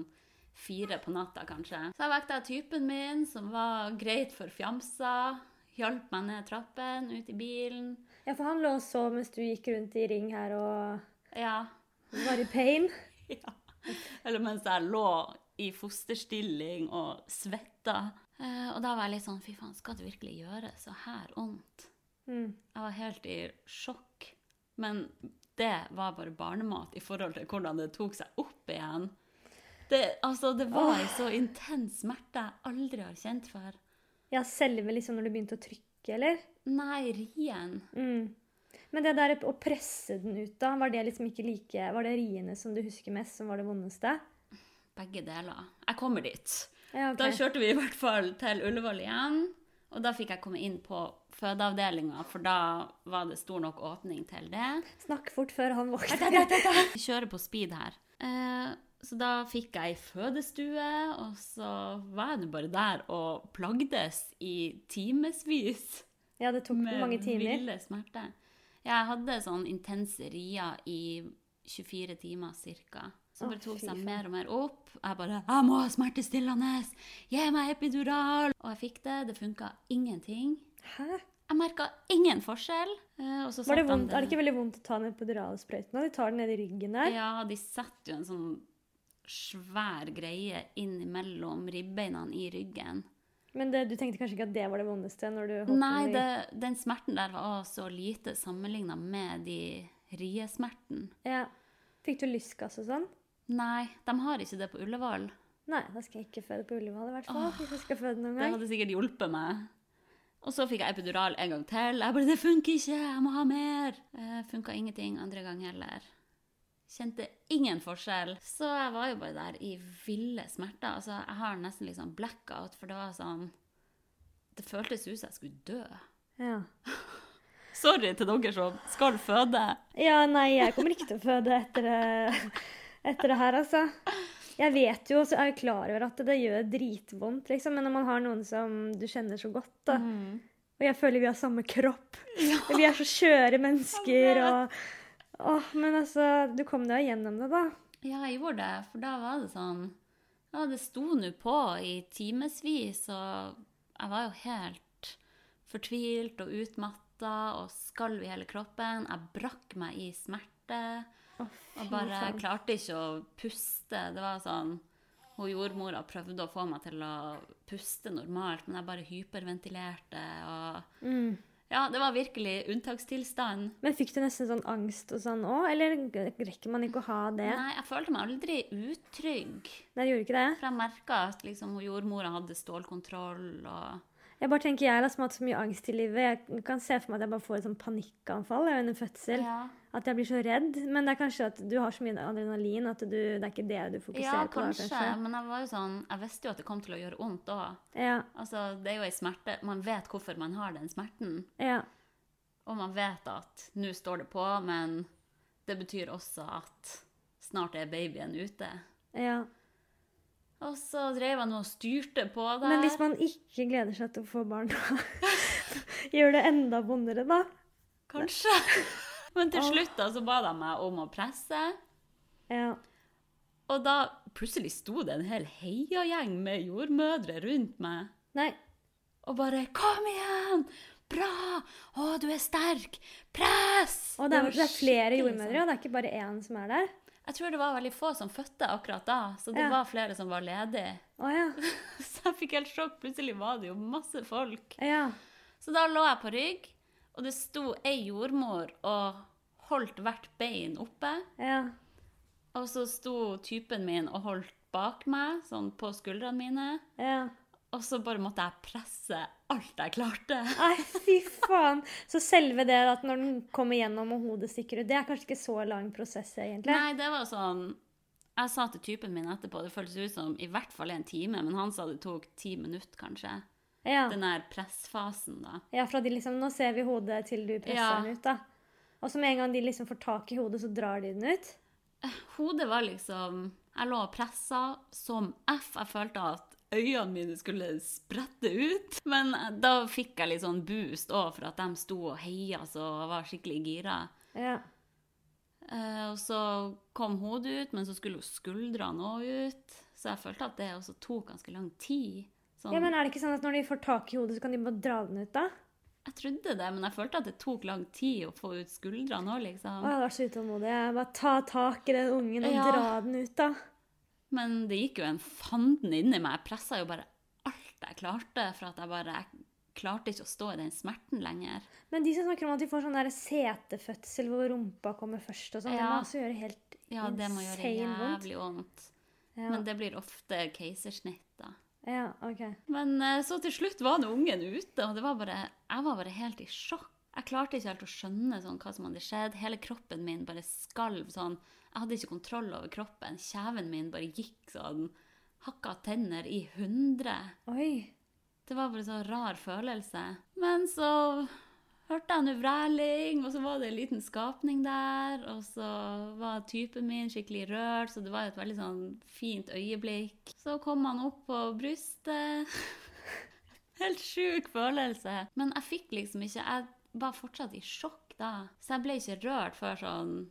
S2: fire på natta, kanskje. Så jeg vekta typen min, som var greit for fjamsa. Hjalp meg ned trappen, ut i bilen.
S1: Ja, for han lå og sov mens du gikk rundt i ring her og
S2: Ja.
S1: var i pain.
S2: ja. Eller mens jeg lå i fosterstilling og svetta. Eh, og da var jeg litt sånn Fy faen, skal det virkelig gjøre så her vondt?
S1: Mm.
S2: Jeg var helt i sjokk. Men det var bare barnemat i forhold til hvordan det tok seg opp igjen. Det, altså, det var en så intens smerte jeg aldri har kjent før.
S1: Ja, selve liksom når du begynte å trykke, eller?
S2: Nei, rien.
S1: Mm. Men det der å presse den ut, da, var det liksom ikke like Var det riene som du husker mest, som var det vondeste?
S2: Begge deler. Jeg kommer dit.
S1: Ja, ok.
S2: Da kjørte vi i hvert fall til Ullevål igjen. Og da fikk jeg komme inn på fødeavdelinga, for da var det stor nok åpning til det.
S1: Snakk fort før han våkner.
S2: Vi kjører på speed her. Eh, så da fikk jeg ei fødestue, og så var jeg nå bare der og plagdes i timevis
S1: Ja, det tok mange timer.
S2: ville smerter. Jeg hadde sånn intense rier i 24 timer ca. Som
S1: Å,
S2: bare tok
S1: fy
S2: seg
S1: faen.
S2: mer og mer opp. Jeg bare 'Jeg må ha smertestillende! Gi meg epidural!' Og jeg fikk det. Det funka ingenting.
S1: Hæ?
S2: Jeg merka ingen forskjell. Eh, og så
S1: Var det,
S2: satte han
S1: vondt, er det ikke veldig vondt å ta den epiduralsprøyten? og De tar den ned i ryggen der.
S2: Ja, de setter jo en sånn svær greie innimellom ribbeina i ryggen.
S1: Men det, du tenkte kanskje ikke at det var det vondeste? når du holdt
S2: Nei,
S1: den i-
S2: det, den smerten der var også så lite sammenligna med de riesmerten.
S1: Ja. Fikk du lystgass og sånn?
S2: Nei, de har ikke det på Ullevål.
S1: Nei, da skal jeg ikke føde på Ullevål i hvert fall. hvis jeg skal føde noen
S2: Det
S1: gang.
S2: hadde sikkert hjulpet meg. Og så fikk jeg epidural en gang til. Jeg bare 'Det funker ikke! Jeg må ha mer!' Eh, Funka ingenting andre gang heller. Kjente ingen forskjell. Så jeg var jo bare der i ville smerter. Altså, jeg har nesten litt sånn blackout, for det var sånn Det føltes ut som jeg skulle dø.
S1: Ja.
S2: Sorry til dere som skal føde.
S1: ja, nei, jeg kommer ikke til å føde etter, det- etter det her, altså. Jeg vet jo, og så er jeg klar over at det gjør dritvondt, liksom. Men når man har noen som du kjenner så godt, da. Og jeg føler vi har samme kropp. Vi er så skjøre mennesker og Åh, men altså, du kom deg gjennom det, da.
S2: Ja, jeg gjorde det, for da var det sånn Ja, det sto nå på i timevis, og jeg var jo helt fortvilt og utmatta og skalv i hele kroppen. Jeg brakk meg i smerte
S1: Å,
S2: og
S1: fy
S2: bare
S1: faen.
S2: klarte ikke å puste. Det var sånn hun Jordmora prøvde å få meg til å puste normalt, men jeg bare hyperventilerte. og...
S1: Mm.
S2: Ja, det var virkelig unntakstilstand.
S1: Men fikk du nesten sånn angst og sånn òg, eller rekker man ikke å ha det?
S2: Nei, jeg følte meg aldri utrygg.
S1: Nei, det gjorde ikke det.
S2: For jeg merka at liksom, hun jordmora hadde stålkontroll og
S1: Jeg bare tenker, jeg som har hatt så mye angst i livet, jeg kan se for meg at jeg bare får et sånn panikkanfall jeg, under fødsel.
S2: Ja,
S1: At jeg blir så redd. Men det er kanskje at du har så mye adrenalin at du, det er ikke det du fokuserer på. da,
S2: kanskje. Men jeg var jo sånn, jeg visste jo at det kom til å gjøre vondt òg.
S1: Ja,
S2: Altså, det er jo ei smerte. Man vet hvorfor man har den smerten.
S1: ja.
S2: Og man vet at nå står det på, men det betyr også at snart er babyen ute.
S1: ja.
S2: Og så drev jeg nå og styrte på der.
S1: Men hvis man ikke gleder seg til å få barn, da gjør det enda vondere, da.
S2: Kanskje. Men til slutt da, så ba de meg om å presse.
S1: Ja.
S2: Og da plutselig sto det en hel heiagjeng med jordmødre rundt meg.
S1: Nei.
S2: Og bare 'Kom igjen! Bra! Å, du er sterk! Press!'
S1: Og det er,
S2: var
S1: det er flere
S2: skikkelig
S1: jordmødre,
S2: sånn.
S1: og det er ikke bare én som er der.
S2: Jeg tror det var veldig få som fødte akkurat da, så det
S1: Ja.
S2: var flere som var ledige.
S1: Å ja.
S2: Så jeg fikk helt sjokk. Plutselig var det jo masse folk.
S1: ja.
S2: Så da lå jeg på rygg, og det sto ei jordmor og holdt hvert bein oppe.
S1: Ja.
S2: Og så sto typen min og holdt bak meg, sånn på skuldrene mine.
S1: Ja.
S2: Og så bare måtte jeg presse alt jeg klarte.
S1: Nei, fy faen. Så selve det at når den kommer gjennom og hodet stikker ut, det er kanskje ikke så lang prosess, egentlig?
S2: Nei, det var sånn Jeg sa til typen min etterpå, det føltes ut som i hvert fall en time, men han sa det tok ti minutter, kanskje.
S1: Ja.
S2: Den der pressfasen, da.
S1: ja, fra de liksom Nå ser vi hodet til du presser
S2: Ja.
S1: den ut, da. Og så med en gang de liksom får tak i hodet, så drar de den ut.
S2: Hodet var liksom Jeg lå og pressa som F. Jeg følte at øynene mine skulle sprette ut. Men eh, da fikk jeg litt sånn boost òg, for at de sto og heia så jeg var skikkelig gira.
S1: Ja.
S2: Eh, og så kom hodet ut, men så skulle jo skuldrene òg ut. Så jeg følte at det også tok ganske lang tid. Sånn,
S1: ja, men er det ikke sånn at når de får tak i hodet, så kan de bare dra den ut, da?
S2: Jeg trodde det, men jeg følte at det tok lang tid å få ut skuldrene òg,
S1: Å,
S2: liksom.
S1: jeg var så utålmodig. Jeg bare ta tak i den ungen og
S2: Ja.
S1: dra den ut, da.
S2: Men det gikk jo en fanden inni meg. Jeg pressa jo bare alt jeg klarte, for at jeg bare jeg klarte ikke å stå i den smerten lenger.
S1: Men de som snakker om at de får sånn der setefødsel hvor rumpa kommer først og sånn, det
S2: Ja.
S1: må også gjøre helt
S2: Ja, det må gjøre
S1: insane vondt.
S2: jævlig vondt.
S1: Ja.
S2: Men det blir ofte keisersnitt, da.
S1: ja, ok.
S2: Men eh, så til slutt var nå ungen ute, og det var bare, jeg var bare helt i sjokk. Jeg klarte ikke helt å skjønne sånn, hva som hadde skjedd. Hele kroppen min bare skalv sånn. Jeg hadde ikke kontroll over kroppen. Kjeven min bare gikk sånn. Hakka tenner i hundre.
S1: Oi.
S2: Det var bare så rar følelse. Men så hørte jeg noe vræling, og så var det en liten skapning der. Og så var typen min skikkelig rørt, så det var et veldig sånn fint øyeblikk. Så kom han opp på brystet. Helt sjuk følelse. Men jeg fikk liksom ikke Jeg var fortsatt i sjokk da. Så jeg ble ikke rørt før sånn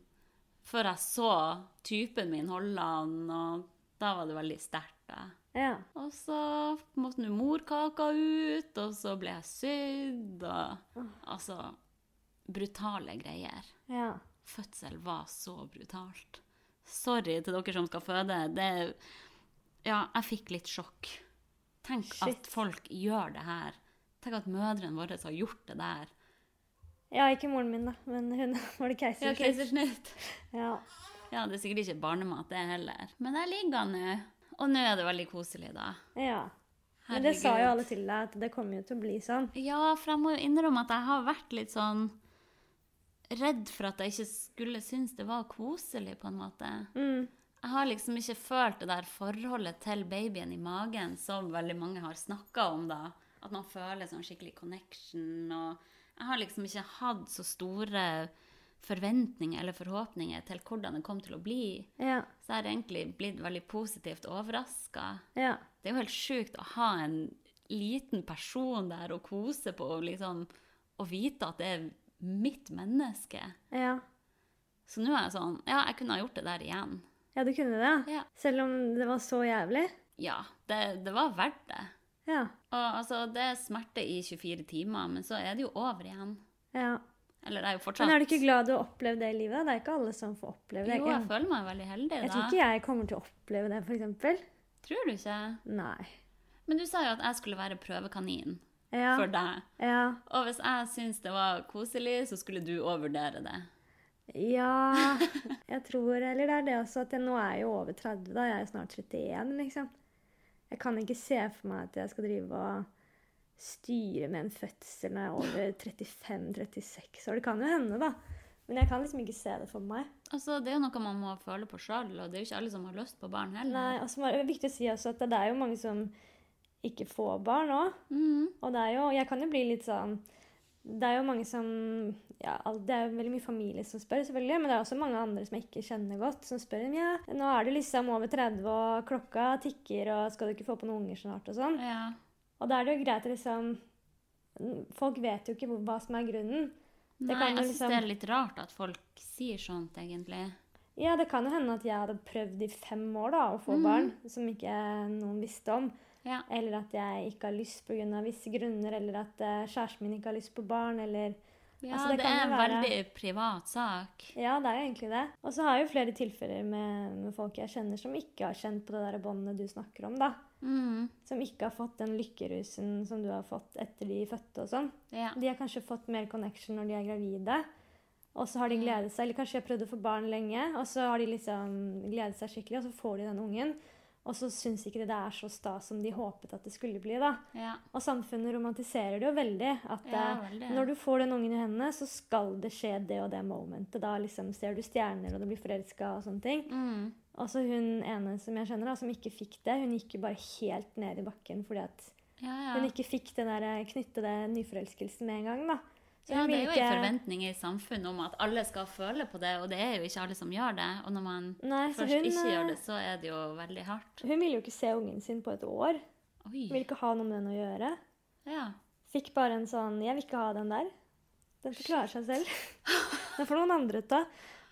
S2: Før jeg så typen min holde han, og da var det veldig sterkt, da.
S1: Ja.
S2: Og så måtte nå morkaka ut, og så ble jeg sydd, og altså Brutale greier.
S1: Ja.
S2: Fødsel var så brutalt. Sorry til dere som skal føde. Det Ja, jeg fikk litt sjokk. Tenk
S1: Shit.
S2: at folk gjør det her. Tenk at mødrene våre har gjort det der.
S1: Ja, ikke moren min, da, men hun var det
S2: Ja,
S1: keisersnitt.
S2: keisersnitt.
S1: Ja.
S2: Ja, det er sikkert ikke barnemat, det heller. Men der ligger han nå. Og nå er det veldig koselig, da.
S1: ja. Men det sa
S2: Herregud.
S1: jo alle til deg, at det kommer jo til å bli sånn.
S2: Ja, for jeg må jo innrømme at jeg har vært litt sånn redd for at jeg ikke skulle synes det var koselig, på en måte.
S1: Mm.
S2: Jeg har liksom ikke følt det der forholdet til babyen i magen som veldig mange har snakka om, da. At man føler sånn skikkelig connection og Jeg har liksom ikke hatt så store forventninger eller forhåpninger til hvordan det kom til å bli.
S1: Ja.
S2: Så jeg har egentlig blitt veldig positivt overraska.
S1: Ja.
S2: Det er jo helt sjukt å ha en liten person der og kose på og liksom Og vite at det er mitt menneske.
S1: Ja.
S2: Så nå er jeg sånn Ja, jeg kunne ha gjort det der igjen.
S1: Ja, du kunne det, ja.
S2: Ja,
S1: Selv om det var så jævlig?
S2: ja det, det var verdt det.
S1: Ja.
S2: Og altså, det er smerte i 24 timer, men så er det jo over igjen.
S1: Ja.
S2: Eller det er jo fortsatt
S1: Men er du ikke glad du har opplevd det i livet? da? Det er ikke alle som får oppleve det.
S2: Jo, jeg føler meg veldig heldig, da.
S1: Jeg tror ikke jeg kommer til å oppleve det, f.eks.
S2: Tror du ikke?
S1: Nei.
S2: Men du sa jo at jeg skulle være prøvekanin
S1: Ja.
S2: for deg.
S1: Ja.
S2: Og hvis jeg syns det var koselig, så skulle du òg vurdere det.
S1: ja. Jeg tror Eller det er det også at jeg nå er jeg jo over 30, da. Jeg er jo snart 31, liksom. Jeg kan ikke se for meg at jeg skal drive og styre med en fødsel når jeg er over 35-36 år. Det kan jo hende, da. Men jeg kan liksom ikke se det for meg.
S2: Altså, Det er jo noe man må føle på sjøl, og det er jo ikke alle som har lyst på barn heller.
S1: Nei, og så var det viktig å si også at det er jo mange som ikke får barn òg.
S2: Mhm.
S1: Og det er jo, jeg kan jo bli litt sånn Det er jo mange som ja, al- Det er jo veldig mye familie som spør, selvfølgelig. Men det er også mange andre som jeg ikke kjenner godt, som spør om ja, nå er du liksom over 30, og klokka tikker, og skal du ikke få på noen unger snart, og sånn.
S2: Ja.
S1: Og da er det jo greit å liksom Folk vet jo ikke hvor- hva som er grunnen. Det
S2: Nei,
S1: kan jo
S2: jeg syns
S1: liksom-
S2: det er litt rart at folk sier sånt, egentlig.
S1: Ja, det kan jo hende at jeg hadde prøvd i fem år da, å få barn som ikke noen visste om.
S2: Ja.
S1: Eller at jeg ikke har lyst pga. visse grunner, eller at eh, kjæresten min ikke har lyst på barn, eller
S2: Ja,
S1: Altså,
S2: det,
S1: kan
S2: er
S1: jo
S2: en
S1: være-
S2: veldig privat sak.
S1: Ja, det er jo egentlig det. Og så har jeg jo flere tilfeller med, med folk jeg kjenner som ikke har kjent på det der båndet du snakker om, da.
S2: Mm,
S1: Som ikke har fått den lykkerusen som du har fått etter de er fødte og sånn.
S2: ja.
S1: De har kanskje fått mer connection når de er gravide. Og så har de gledet seg, eller kanskje de har prøvd å få barn lenge, og så har de liksom gledet seg skikkelig, og så får de den ungen. Og så syns ikke de det er så stas som de håpet at det skulle bli, da.
S2: ja.
S1: Og samfunnet romantiserer det jo veldig. At
S2: Ja,
S1: eh,
S2: veldig.
S1: når du får den ungen i hendene, så skal det skje det og det momentet. Da liksom ser du stjerner, og du blir forelska og sånne ting.
S2: Mm,
S1: Og så hun ene som jeg kjenner, da, som ikke fikk det, hun gikk jo bare helt ned i bakken fordi at
S2: ja, ja.
S1: hun ikke fikk den der eh, knytte det nyforelskelsen med en gang, da. Så
S2: ja,
S1: hun
S2: det er
S1: ville
S2: jo
S1: ikke-
S2: en forventning i samfunnet om at alle skal føle på det, og det er jo ikke alle som gjør det. Og når man
S1: Nei, så
S2: først
S1: hun,
S2: ikke gjør
S1: eh,
S2: det, så er det jo veldig hardt.
S1: hun ville jo ikke se ungen sin på et år.
S2: Oi.
S1: Ville ikke ha noe med den å gjøre.
S2: Ja.
S1: Fikk bare en sånn 'Jeg vil ikke ha den der'. Den får klare seg selv. Den får noen andre ta.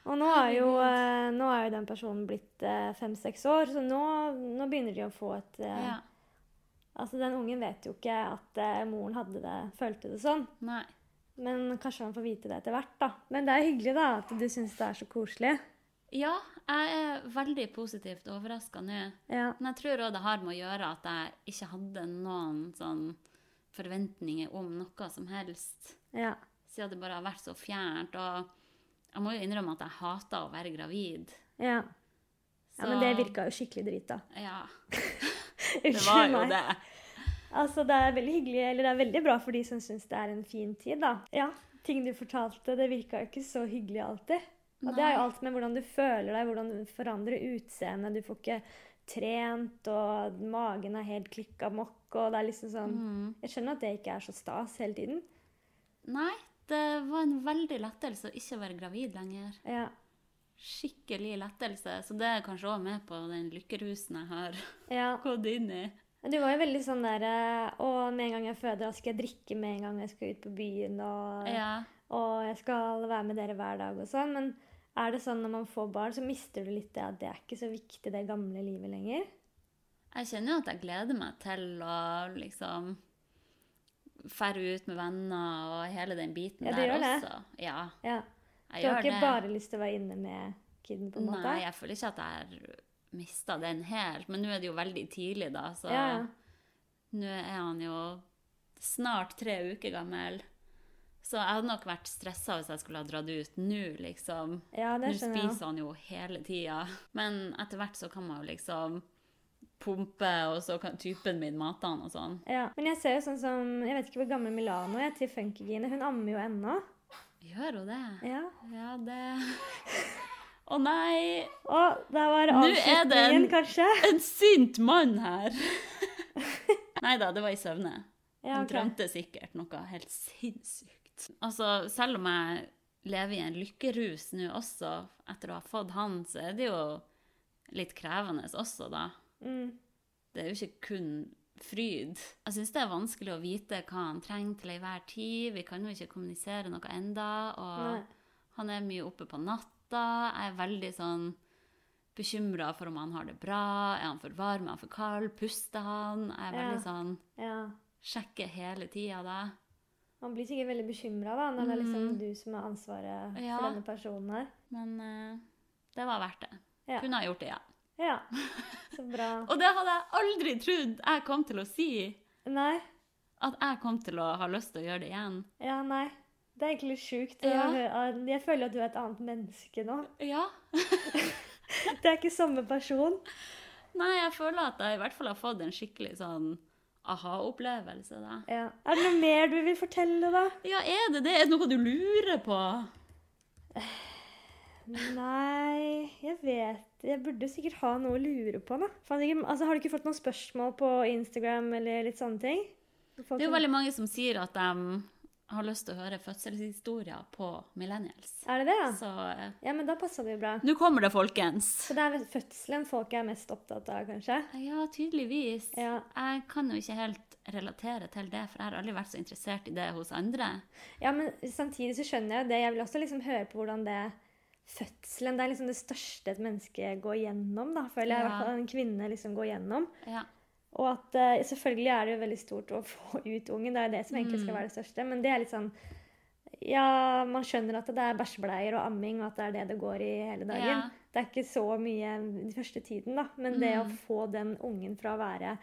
S1: Og nå er jo, eh, nå er jo den personen blitt eh, fem-seks år, så nå, nå begynner de å få et eh,
S2: ja.
S1: Altså, den ungen vet jo ikke at eh, moren hadde det, følte det sånn.
S2: Nei.
S1: Men kanskje han får vite det etter hvert, da. Men det er hyggelig, da, at du syns det er så koselig.
S2: Ja, jeg er veldig positivt overraska nå.
S1: Ja.
S2: Men jeg tror òg det har med å gjøre at jeg ikke hadde noen sånn forventninger om noe som helst.
S1: Ja.
S2: Siden det bare har vært så fjernt. Og jeg må jo innrømme at jeg hater å være gravid.
S1: ja.
S2: Så-
S1: ja men det virka jo skikkelig drit, da.
S2: Ja, det var
S1: Unnskyld
S2: jo
S1: meg.
S2: det.
S1: Altså, det er veldig hyggelig, eller det er veldig bra for de som syns det er en fin tid, da. Ja, ting du fortalte, det virka jo ikke så hyggelig alltid. Og det er jo alt med hvordan du føler deg, hvordan du forandrer utseendet. Du får ikke trent, og magen er helt klikka mokk, og det er liksom sånn
S2: Mm.
S1: Jeg skjønner at det ikke er så stas hele tiden.
S2: Nei, det var en veldig lettelse å ikke være gravid lenger.
S1: Ja.
S2: Skikkelig lettelse. Så det er kanskje òg med på den lykkerusen jeg har
S1: ja.
S2: gått inn i.
S1: Du var jo veldig sånn der eh, Å, med en gang jeg føder, da skal jeg drikke med en gang jeg skal ut på byen, og
S2: Ja.
S1: og jeg skal være med dere hver dag og sånn. Men er det sånn når man får barn, så mister du litt det at det er ikke så viktig, det gamle livet lenger?
S2: Jeg kjenner jo at jeg gleder meg til å liksom Fære ut med venner og hele den biten
S1: Ja, du
S2: der
S1: gjør det.
S2: også. Ja,
S1: Ja.
S2: jeg
S1: Du har
S2: gjør
S1: ikke
S2: det.
S1: bare lyst til å være inne med kiden, på en måte?
S2: Nei, jeg føler ikke at jeg har mista den helt. Men nå er det jo veldig tidlig, da, så
S1: Ja, ja.
S2: nå er han jo snart tre uker gammel. Så jeg hadde nok vært stressa hvis jeg skulle ha dratt ut nå, liksom.
S1: Ja, det
S2: Nå
S1: skjønner jeg.
S2: spiser han jo hele tida. Men etter hvert så kan man jo liksom pumpe, og så kan typen min mate han og sånn.
S1: Ja. Men jeg ser jo sånn som Jeg vet ikke hvor gammel Milano er til Funkygine. Hun ammer jo ennå.
S2: Gjør hun det?
S1: Ja.
S2: Ja, det Å nei!
S1: Og der var
S2: Nå er det en-
S1: avslutningen, kanskje.
S2: En sint mann her! nei da, det var i søvne.
S1: Ja,
S2: Han
S1: ok.
S2: drømte sikkert noe helt sinnssykt. Altså, selv om jeg lever i en lykkerus nå også, etter å ha fått han, så er det jo litt krevende også, da.
S1: Mm.
S2: Det er jo ikke kun fryd. Jeg syns det er vanskelig å vite hva han trenger til enhver tid. Vi kan jo ikke kommunisere noe enda, og
S1: Nei.
S2: han er mye oppe på natta. Jeg er veldig sånn bekymra for om han har det bra. Er han for varm? Er han for kald? Puster han? Jeg er veldig
S1: Ja.
S2: sånn
S1: Ja.
S2: Sjekker hele tida da.
S1: Man blir sikkert veldig bekymra når det er liksom
S2: Mm.
S1: du som har ansvaret
S2: Ja.
S1: for denne personen her.
S2: Men eh, det var verdt det.
S1: Ja.
S2: Kunne ha gjort det, ja.
S1: Ja. Så bra.
S2: Og det hadde jeg aldri trodd jeg kom til å si.
S1: Nei.
S2: At jeg kom til å ha lyst til å gjøre det igjen.
S1: Ja, nei. Det er egentlig sjukt. å
S2: Ja.
S1: hø- Jeg føler at du er et annet menneske nå.
S2: Ja,
S1: Det er ikke samme person.
S2: Nei, jeg føler at jeg i hvert fall har fått en skikkelig sånn aha-opplevelse, da.
S1: Ja. Er det noe mer du vil fortelle, da?
S2: Ja, er det det? Er det noe du lurer på?
S1: Nei, jeg vet Jeg burde sikkert ha noe å lure på, da. Faen, ikke- altså, har du ikke fått noen spørsmål på Instagram eller litt sånne ting? Folk
S2: Det er jo
S1: som-
S2: veldig mange som sier at de har lyst til å høre fødselshistorier på millennials.
S1: Er det det, ja?
S2: Så eh,
S1: Ja, men da passer det jo bra.
S2: nå kommer det, folkens.
S1: Så det er vel fødselen folk er mest opptatt av, kanskje?
S2: Ja, tydeligvis.
S1: Ja.
S2: Jeg kan jo ikke helt relatere til det, for jeg har aldri vært så interessert i det hos andre.
S1: Ja, men samtidig så skjønner jeg jo det. Jeg vil også liksom høre på hvordan det Fødselen det er liksom det største et menneske går gjennom, da, føler jeg. I
S2: Ja.
S1: hvert fall en kvinne liksom går gjennom.
S2: Ja.
S1: Og at eh,
S2: Mm.
S1: selvfølgelig er det jo veldig stort å få ut ungen, det er jo det som egentlig skal være det største, men det er litt sånn Ja, man skjønner at det er bæsjebleier og amming, og at det er det det går i hele dagen.
S2: Ja.
S1: Det er ikke så mye den første tiden, da. Men det
S2: Mm.
S1: å få den ungen fra å være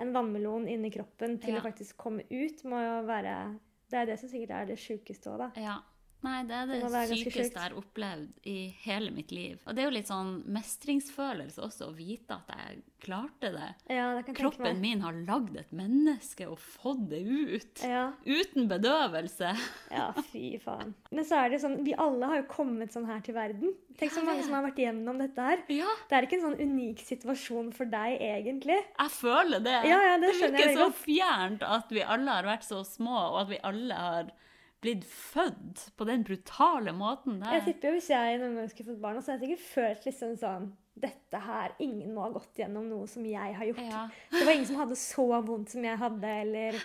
S1: en vannmelon inni kroppen til
S2: Ja.
S1: å faktisk komme ut, må jo være Det er det som sikkert er det sjukeste òg, da.
S2: Ja. Nei, det er det,
S1: Det må være ganske
S2: sykeste
S1: sjukt.
S2: jeg har opplevd i hele mitt liv. Og det er jo litt sånn mestringsfølelse også, å vite at jeg klarte det.
S1: Ja, det kan jeg tenke
S2: Eh, Kroppen
S1: meg.
S2: min har lagd et menneske og fått det ut.
S1: Ja.
S2: Uten bedøvelse.
S1: Ja, fy faen. Men så er det jo sånn, vi alle har jo kommet sånn her til verden. Tenk så
S2: Ja,
S1: mange
S2: det.
S1: som har vært igjennom dette her.
S2: Ja,
S1: Det er ikke en sånn unik situasjon for deg, egentlig.
S2: jeg føler det.
S1: Ja, ja, det skjønner jeg
S2: virker
S1: veldig
S2: så
S1: godt.
S2: fjernt at vi alle har vært så små, og at vi alle har blitt født på den brutale måten der.
S1: Jeg tipper jo hvis jeg noen gang skulle fått barn, så hadde jeg sikkert følt liksom sånn Dette her Ingen må ha gått gjennom noe som jeg har gjort.
S2: Ja.
S1: Det var ingen som hadde så vondt som jeg hadde, eller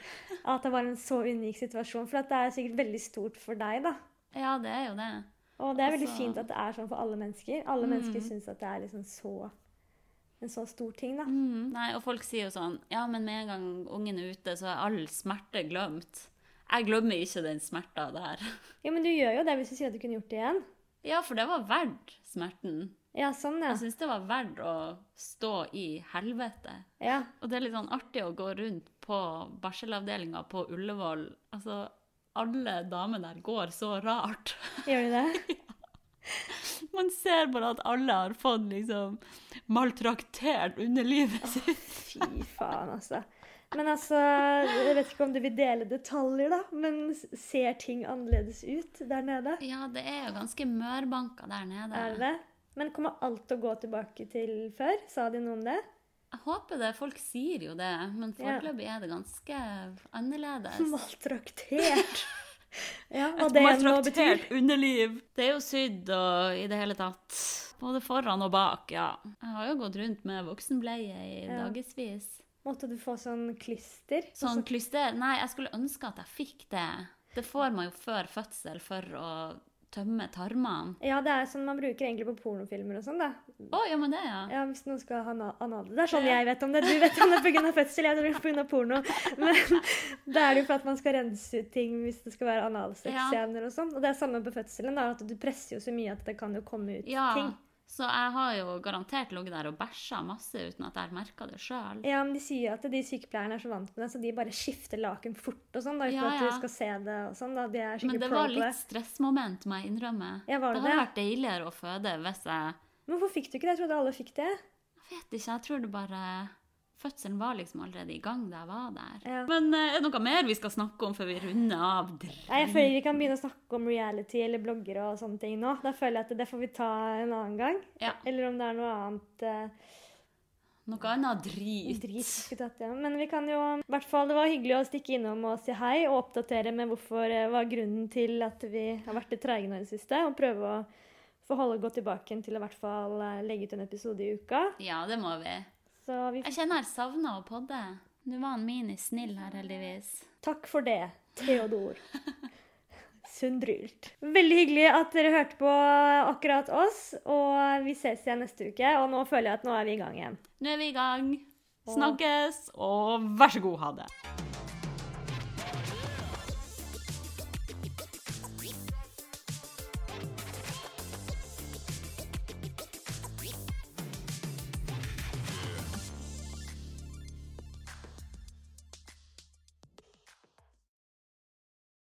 S1: at det var en så unik situasjon. For at det er sikkert veldig stort for deg, da.
S2: ja, det er jo det.
S1: Og det er veldig
S2: Altså- Mm.
S1: fint at det er sånn for alle mennesker. Alle mennesker syns at det er liksom så en så stor ting, da.
S2: Mm, nei, og folk sier jo sånn Ja, men med en gang ungen er ute, så er all smerte glemt. Jeg glemmer ikke den smerta der.
S1: Jo, men du gjør jo det hvis du sier at du kunne gjort det igjen.
S2: Ja, for det var verdt smerten.
S1: Ja, sånn, ja.
S2: Jeg syns det var verdt å stå i helvete.
S1: ja.
S2: Og det er litt sånn artig å gå rundt på barselavdelinga på Ullevål. Altså, alle damene der går så rart.
S1: Gjør du det?
S2: Man ser bare at alle har fått liksom maltraktert underlivet sitt.
S1: Fy faen, altså. Men altså, jeg vet ikke om du vil dele detaljer, da, men s- ser ting annerledes ut der nede?
S2: Ja, det er jo ganske mørbanka der nede.
S1: Er det det? Men kommer alt til å gå tilbake til før? Sa de noe om det?
S2: Jeg håper det. Folk sier jo det, men
S1: Ja.
S2: foreløpig er det ganske annerledes.
S1: Maltraktert! Ja, hva
S2: Et
S1: det nå betyr.
S2: maltraktert underliv. Det er jo sydd og i det hele tatt. Både foran og bak, ja. Jeg har jo gått rundt med voksenbleie i
S1: Ja.
S2: dagevis.
S1: Måtte du få sånn klister?
S2: Sånn klyster Nei, jeg skulle ønske at jeg fikk det. Det får man jo før fødsel for å tømme tarmene.
S1: Ja, det er sånn man bruker egentlig på pornofilmer og sånn, da.
S2: Å, ja, men det, ja.
S1: Ja, hvis noen skal ha na- anale. Det er sånn jeg vet om det. Du vet om det pga. fødsel, jeg tror pga. porno. Men da er det jo for at man skal rense ut ting hvis det skal være analsexscener og sånn. Og det er samme på fødselen, da, at du presser jo så mye at det kan jo komme ut
S2: Ja.
S1: ting.
S2: Så jeg har jo garantert ligget der og bæsja masse uten at jeg har merka det sjøl.
S1: Ja, men De sier at de sykepleierne er så vant med det, så de bare skifter laken fort og sånn. da, Uten
S2: Ja,
S1: at
S2: ja.
S1: du skal se det og sånn. da, De er
S2: Men
S1: skikkelig
S2: det
S1: pro
S2: var
S1: på det.
S2: litt stressmoment, må jeg innrømme.
S1: Ja, var det
S2: hadde
S1: det?
S2: vært deiligere å føde hvis jeg
S1: Men hvorfor fikk du ikke det? Jeg trodde alle fikk det.
S2: Jeg vet ikke, jeg tror det bare Fødselen var liksom allerede i gang da jeg var der.
S1: Ja.
S2: Men eh, er det noe mer vi skal snakke om før vi runder av? Dr-
S1: Nei, Jeg føler vi kan begynne å snakke om reality eller bloggere og sånne ting nå. Da føler jeg at det får vi ta en annen gang.
S2: Ja.
S1: Eller om det er noe annet. eh,
S2: Noe annet drit.
S1: Drit skulle tatt igjen. Men vi kan jo i hvert fall Det var hyggelig å stikke innom og si hei og oppdatere med hvorfor eh, var grunnen til at vi har vært litt treige nå i det siste. Og prøve å få holde godt tilbake til å i hvert fall eh, legge ut en episode i uka.
S2: Ja, det må vi.
S1: Så vi
S2: Jeg kjenner jeg savna å podde. Nå var han Mini snill her, heldigvis.
S1: Takk for det, Theodor. Sundrylt. Veldig hyggelig at dere hørte på akkurat oss, og vi ses igjen neste uke. Og nå føler jeg at nå er vi i gang igjen.
S2: Nå er vi i gang. Snakkes, og vær så god, ha det.